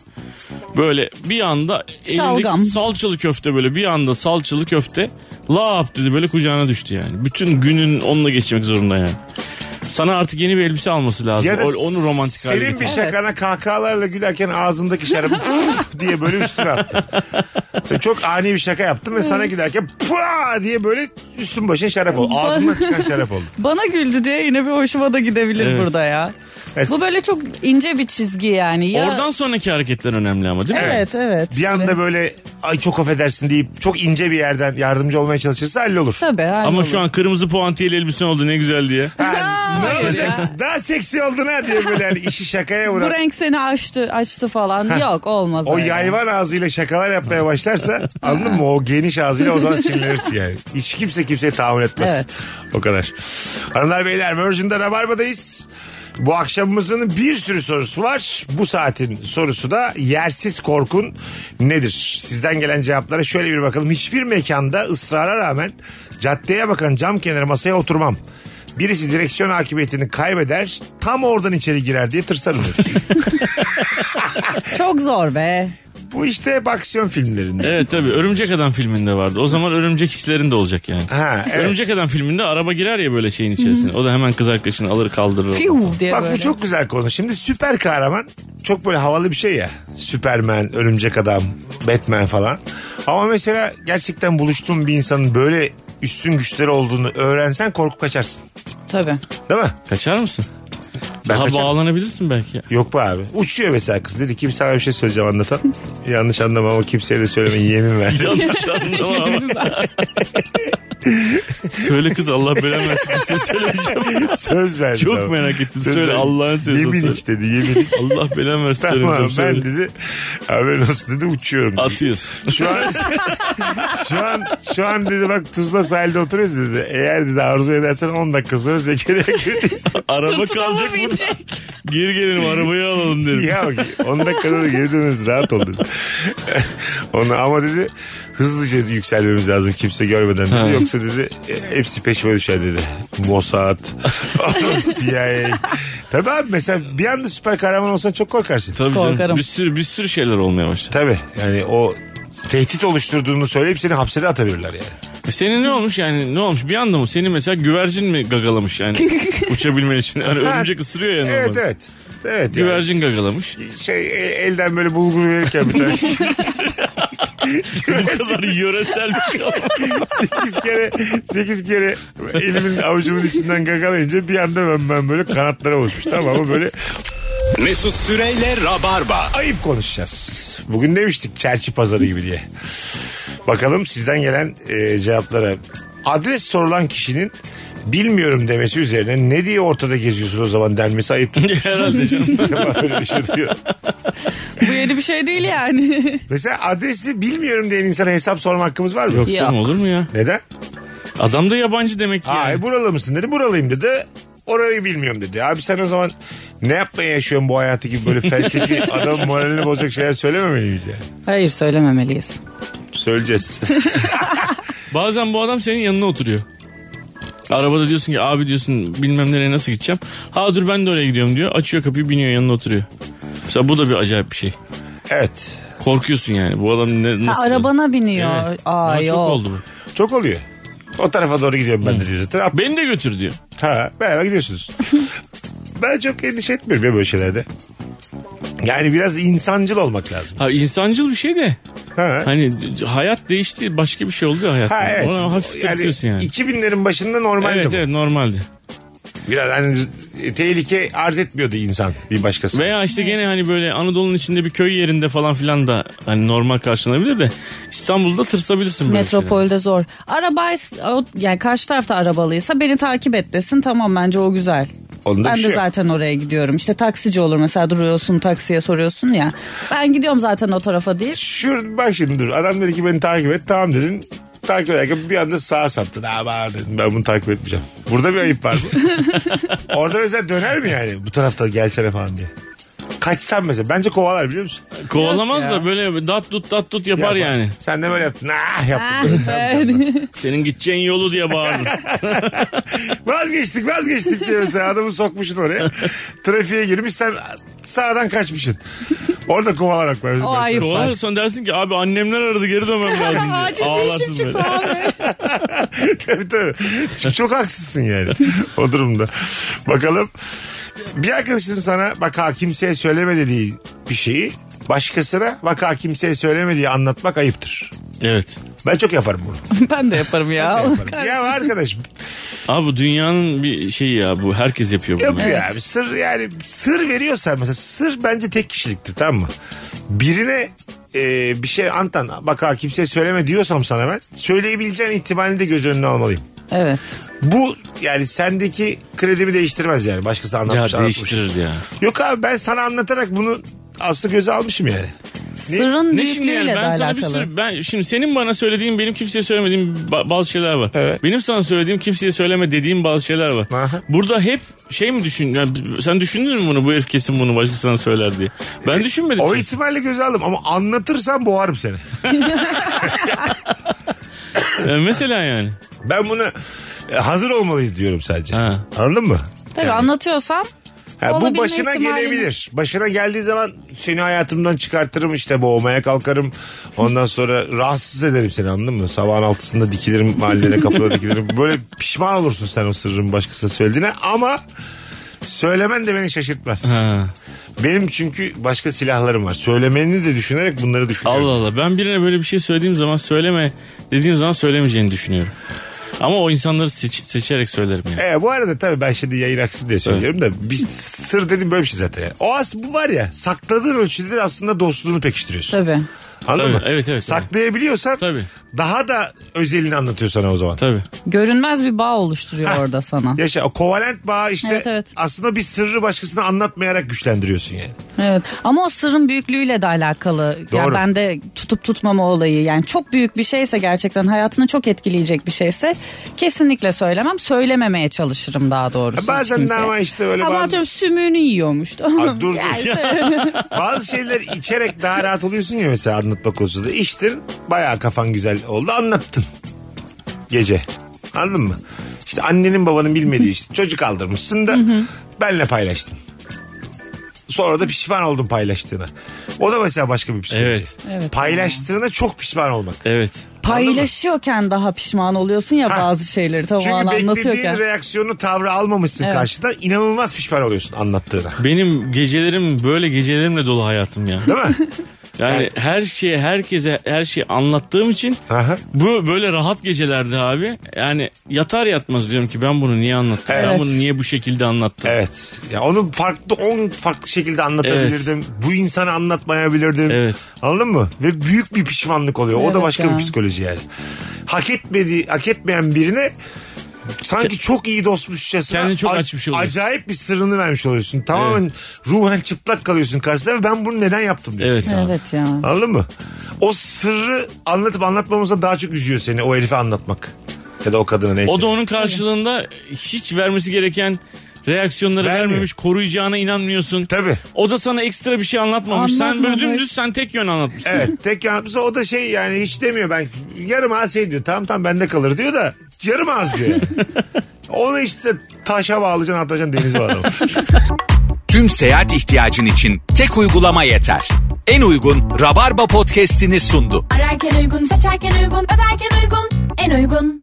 E: Böyle bir anda
D: Şalgam.
E: elindeki salçalı köfte böyle bir anda salçalı köfte lap dedi böyle kucağına düştü yani. Bütün günün onunla geçirmek zorunda yani. Sana artık yeni bir elbise alması lazım.
C: ya da
E: O- onu romantik hale
C: Senin
E: getir.
C: bir şakana kahkahalarla gülerken ağzındaki şarabı "Puf" diye böyle üstüne attı. Sen çok ani bir şaka yaptın ve sana gülerken "Pua" diye böyle üstün başına şarap oldu. Ağzından çıkan şarap oldu.
D: Bana güldü diye yine bir hoşuma da gidebilir
E: Evet.
D: burada ya.
C: Evet.
D: Bu böyle çok ince bir çizgi yani. Ya,
E: Oradan sonraki hareketler önemli ama değil mi?
D: Evet evet.
C: Bir anda böyle ay çok affedersin deyip çok ince bir yerden yardımcı olmaya çalışırsa hallolur.
D: Tabii. hani
E: Ama şu an kırmızı puantiyeli elbisen oldu ne
C: *laughs*
E: güzel diye.
C: Ha, ne olacak? Daha seksi oldun ha diye böyle yani işi şakaya
D: Bu
C: vuran.
D: renk seni açtı açtı falan. Yok olmaz.
C: O
D: öyle.
C: yayvan ağzıyla şakalar yapmaya başlarsa anladın mı? O geniş ağzıyla o zaman sinirlenirsin yani. Hiç kimse kimseye tahammül etmez.
D: Evet.
C: O kadar. Hanımlar beyler Virgin'de Rabarba'dayız. Bu akşamımızın bir sürü sorusu var. Bu saatin sorusu da yersiz korkun nedir? Sizden gelen cevaplara şöyle bir bakalım. Hiçbir mekanda ısrara rağmen caddeye bakan cam kenarı masaya oturmam. Birisi direksiyon hakimiyetini kaybeder tam oradan içeri girer diye tırsarım. demiş.
D: Çok zor be.
C: Bu işte hep aksiyon filmlerinde.
E: Evet tabii Örümcek Adam filminde vardı. O zaman örümcek hislerin de olacak yani.
C: Ha, evet.
E: Örümcek Adam filminde araba girer ya böyle şeyin içerisine. O da hemen kız arkadaşını alır kaldırır.
D: Piu diye
C: Bak
D: böyle.
C: bu çok güzel konu. Şimdi süper kahraman çok böyle havalı bir şey ya. Süpermen, örümcek adam, Batman falan. Ama mesela gerçekten buluştuğun bir insanın böyle üstün güçleri olduğunu öğrensen korkup kaçarsın.
D: Tabii.
C: Değil mi?
E: Kaçar mısın?
C: Ben
E: Daha
C: kaçarım. *laughs*
E: bağlanabilirsin belki. ya.
C: Yok be abi. Uçuyor mesela kız. Dedi ki sana bir şey söyleyeceğim anlatan. *laughs* Yanlış anlama ama kimseye de söylemeyin yemin
E: *laughs*
C: verdi.
E: Yanlış anlama ama. *laughs* Söyle kız Allah belanı versin. Bir şey söylemeyeceğim.
C: *laughs* Söz verdi.
E: Çok
C: ama.
E: merak ettim.
C: Söz
E: Söyle
C: verdi.
E: Allah'ın sözü
C: Yemin
E: söyle.
C: iç dedi yemin
E: *laughs*
C: iç.
E: Allah belanı versin.
C: tamam
E: Tamam,
C: ben dedi. Haberin olsun dedi uçuyorum. dedi.
E: Atıyorsun.
C: Şu *laughs* an şu an şu an dedi bak Tuzla sahilde oturuyoruz dedi. Eğer dedi arzu edersen 10 dakika sonra Zekeriya Kürtis.
E: *laughs*
D: Sırtına
E: Araba
D: mı
E: kalacak burada.
D: binecek?
E: *laughs* Geri gelelim arabayı alalım
C: *laughs*
E: dedim.
C: ya bak, 10 dakikada da geri döneriz rahat ol dedi. *laughs* Onu ama dedi hızlıca dedi, yükselmemiz lazım kimse görmeden dedi.
E: Ha.
C: Yoksa dedi e, hepsi peşime düşer dedi. Mossad, *laughs* CIA. Tabii abi mesela bir anda süper kahraman olsan çok korkarsın.
E: Tabii canım.
D: Korkarım.
E: Bir sürü, bir sürü şeyler olmaya başladı.
C: Tabii yani o tehdit oluşturduğunu söyleyip seni hapse de atabilirler yani.
E: E Senin ne olmuş yani ne olmuş bir anda mı? Senin mesela güvercin mi gagalamış yani
D: *laughs*
E: uçabilmen için? Yani örümcek ısırıyor ya
C: Evet
E: normalde.
C: evet. Evet. yani.
E: Güvercin gagalamış.
C: şey e, elden böyle bulgur verirken bir *laughs* tane.
E: Bu kadar yöresel bir
C: *laughs*
E: şey olmaz.
C: 8 kere 8 kere elimin avucumun içinden gagalayınca bir anda ben, ben böyle kanatlara oluşmuş tamam ama böyle
F: Mesut Süreyle Rabarba.
C: ayıp konuşacağız. Bugün demiştik çerçi pazarı gibi diye. Bakalım sizden gelen e, cevaplara. Adres sorulan kişinin bilmiyorum demesi üzerine ne diye ortada geziyorsun o zaman denmesi ayıp.
E: Herhalde canım.
C: *laughs* Tamam, öyle bir şey diyor.
D: Bu yeni bir şey değil yani.
C: Mesela adresi bilmiyorum diyen insana hesap sorma hakkımız var mı?
E: Yok canım olur mu ya?
C: Neden?
E: Adam da yabancı demek ki.
C: Ay
E: yani.
C: e, buralı mısın dedi. Buralıyım dedi. Orayı bilmiyorum dedi. Abi sen o zaman ne yapmaya yaşıyorsun bu hayatı gibi böyle
E: *laughs*
C: felsefi adam moralini bozacak şeyler söylememeliyiz yani.
D: Hayır söylememeliyiz.
C: Söyleyeceğiz.
E: Bazen bu adam senin yanına oturuyor. Arabada diyorsun ki abi diyorsun bilmem nereye nasıl gideceğim. Ha dur ben de oraya gidiyorum diyor. Açıyor kapıyı biniyor yanına oturuyor. Mesela bu da bir acayip bir şey.
C: *laughs* evet.
E: Korkuyorsun yani bu adam ne,
D: Ha,
E: nasıl.
D: arabana biniyor.
E: Evet.
D: Aa,
E: Ama
D: yok.
E: çok oldu bu.
C: Çok oluyor. O tarafa doğru gidiyorum ben de diyor zaten. At-
E: Beni de götür diyor.
C: Ha, beraber
E: *laughs*
C: gidiyorsunuz. ben çok endişe etmiyorum ya böyle şeylerde. Yani biraz insancıl olmak lazım.
E: Ha insancıl bir şey de.
C: Ha.
E: Hani d- d- hayat değişti başka bir şey oldu ya hayatta.
C: Ha evet.
E: Ona hafif
C: yani,
E: tırsıyorsun yani.
C: 2000'lerin başında normaldi
E: Evet
C: bu.
E: evet normaldi.
C: Biraz hani e, tehlike arz etmiyordu insan bir başkası.
E: Veya işte gene hani böyle Anadolu'nun içinde bir köy yerinde falan filan da hani normal karşılanabilir de İstanbul'da tırsabilirsin böyle şeyler.
D: Metropolde zor. Araba yani karşı tarafta arabalıysa beni takip et desin tamam bence o güzel.
C: Onda bir
D: ben de
C: şey yok.
D: zaten oraya gidiyorum. İşte taksici olur mesela duruyorsun taksiye soruyorsun ya. Ben gidiyorum zaten o tarafa değil.
C: Şur, bak şimdi dur. Adam dedi ki beni takip et. Tamam dedin. Takip ederken bir anda sağa saptın. Aman dedim ben bunu takip etmeyeceğim. Burada bir ayıp var mı? Orada mesela döner mi yani? Bu tarafta gelsene falan diye. Kaçsam mesela. Bence kovalar biliyor musun?
E: Kovalamaz da böyle dat tut dat tut yapar yani.
C: Sen de böyle yaptın. Ah yaptın. böyle.
E: Senin gideceğin yolu diye bağırır.
C: vazgeçtik vazgeçtik diye mesela adamı sokmuşsun oraya. Trafiğe girmiş sen sağdan kaçmışsın. Orada kovalarak var.
D: O ayrı.
E: Kovalarsan dersin ki abi annemler aradı geri dönmem
D: *laughs*
E: lazım *laughs* diye. Ağlarsın böyle.
C: *laughs* tabii tabii. Çünkü çok haksızsın yani *laughs* o durumda. Bakalım. Bir arkadaşın sana bak ha kimseye söyleme dediği bir şeyi başkasına bak ha kimseye söyleme diye anlatmak ayıptır.
E: Evet.
C: Ben çok yaparım bunu.
D: ben de yaparım ya.
C: Yaparım. ya arkadaş
E: Abi bu dünyanın bir şeyi ya bu herkes yapıyor bunu.
C: yapıyor abi. Sır yani sır veriyorsan mesela sır bence tek kişiliktir tamam mı? Birine e, bir şey antan bak ha kimseye söyleme diyorsam sana ben söyleyebileceğin ihtimalini de göz önüne almalıyım.
D: evet.
C: Bu yani sendeki kredimi değiştirmez yani. Başkası
E: Ya
C: anlatmış anlatmış.
E: değiştirir ya.
C: Yok abi ben sana anlatarak bunu aslı göze almışım yani.
D: Sırrın
E: Ne şimdi yani
D: büyüklüğüyle de
E: ben sana bir
D: alakalı.
E: sürü ben şimdi senin bana söylediğin benim kimseye söylemediğim ba- bazı şeyler var.
C: Evet.
E: Benim sana söylediğim kimseye söyleme dediğim bazı şeyler var.
C: Aha.
E: Burada hep şey mi düşün yani sen düşündün mü bunu bu herif kesin bunu başkasına söyler diye. Ben düşünmedim.
C: O
E: kimse-
C: ihtimalle göze aldım ama anlatırsan boğarım seni.
E: E, mesela yani.
C: Ben buna e, hazır olmalıyız diyorum sadece.
E: Ha.
C: Anladın mı?
D: Tabii anlatıyorsan
C: Ha, bu
D: olabilme
C: başına
D: ihtimalini-
C: gelebilir. Başına geldiği zaman seni hayatımdan çıkartırım işte boğmaya kalkarım. Ondan sonra rahatsız ederim seni anladın mı? Sabahın altısında dikilirim mahallene kapıda dikilirim. Böyle pişman olursun sen o sırrın başkasına söylediğine ama söylemen de beni şaşırtmaz.
E: Ha.
C: Benim çünkü başka silahlarım var. Söylemeni de düşünerek bunları düşünüyorum.
E: Allah Allah ben birine böyle bir şey söylediğim zaman söyleme dediğim zaman söylemeyeceğini düşünüyorum. Ama o insanları seç- seçerek söylerim yani.
C: E, bu arada tabii ben şimdi yayın aksın diye söylüyorum da biz sır dedim böyle bir şey zaten. ya. O as bu var ya sakladığın ölçüde de aslında dostluğunu pekiştiriyorsun.
D: tabii.
C: Anladın
E: Tabii,
C: mı?
E: evet, evet, tabii.
C: Saklayabiliyorsan
E: Tabii.
C: daha da özelini anlatıyor sana o zaman.
E: Tabii.
D: Görünmez bir bağ oluşturuyor orada sana.
C: Yaşa o kovalent bağı işte
D: Evet, evet.
C: aslında bir sırrı başkasına anlatmayarak güçlendiriyorsun
E: *laughs*
C: yani.
D: Evet. Ama o sırrın büyüklüğüyle de alakalı.
C: Doğru.
D: Ya ben de tutup tutmama olayı yani çok büyük bir şeyse gerçekten hayatını çok etkileyecek bir şeyse kesinlikle söylemem. Söylememeye çalışırım daha doğrusu.
C: Ha, bazen
D: hiç kimseye.
C: de ama işte böyle
D: Ama
C: bazı-
D: atıyorum sümüğünü yiyormuş. *laughs*
C: Ha, dur, dur.
D: Yani
C: Bazı şeyler içerek daha rahat oluyorsun ya mesela anlatma konusunda. İçtin bayağı kafan güzel oldu anlattın. Gece. Anladın mı? İşte annenin babanın
D: *laughs*
C: bilmediği işte çocuk aldırmışsın da benle paylaştın. Sonra da pişman oldun paylaştığına. O da mesela başka bir psikoloji.
E: Evet.
D: Evet.
C: Paylaştığına çok pişman olmak.
E: Evet.
D: paylaşıyorken daha pişman oluyorsun ya
C: Ha.
D: bazı şeyleri tamamen
C: Çünkü
D: anlatıyorken.
C: beklediğin reaksiyonu tavrı almamışsın
D: Evet.
C: karşıda. İnanılmaz pişman oluyorsun anlattığına.
E: Benim gecelerim böyle gecelerimle dolu hayatım ya.
C: Değil mi?
E: Yani her şeye herkese her şeyi anlattığım için
C: Aha.
E: bu böyle rahat gecelerde abi yani yatar yatmaz diyorum ki ben bunu niye anlattım? Ben
C: Evet.
E: bunu niye bu şekilde anlattım?
C: Evet. Ya onu farklı 10 farklı şekilde anlatabilirdim. Bu insanı anlatmayabilirdim.
E: Evet.
C: Anladın mı? Ve büyük bir pişmanlık oluyor. o da
D: Evet
C: başka
D: ya.
C: bir psikoloji yani. Hak etmediği, hak etmeyen birine sanki çok iyi dostmuşçasına
E: Kendini çok
C: ac-
E: açmış oluyorsun.
C: acayip bir sırrını vermiş oluyorsun. Tamamen ruhen çıplak kalıyorsun karşısında ve ben bunu neden yaptım diyorsun.
E: Evet. abi.
D: Evet ya.
C: Anladın mı? O sırrı anlatıp anlatmamızda daha çok üzüyor seni o herife anlatmak. Ya da o kadına neyse.
E: O da onun karşılığında hiç vermesi gereken reaksiyonları
C: Vermiyor.
E: vermemiş, koruyacağına inanmıyorsun.
C: Tabii.
E: O da sana ekstra bir şey anlatmamış. Sen böyle
D: Anlatmamış.
E: dümdüz sen tek yön anlatmışsın. *laughs*
C: Evet tek yanıtmışsa o da şey yani hiç demiyor ben yarım ağız şey diyor tamam tamam bende kalır diyor da yarım ağız diyor
E: *laughs*
C: yani. Onu işte taşa bağlayacaksın atacaksın denize bağlayacaksın.
A: Tüm seyahat ihtiyacın için tek uygulama yeter. En uygun Rabarba podcast'ini sundu.
B: Ararken uygun, seçerken uygun, öderken uygun, en uygun.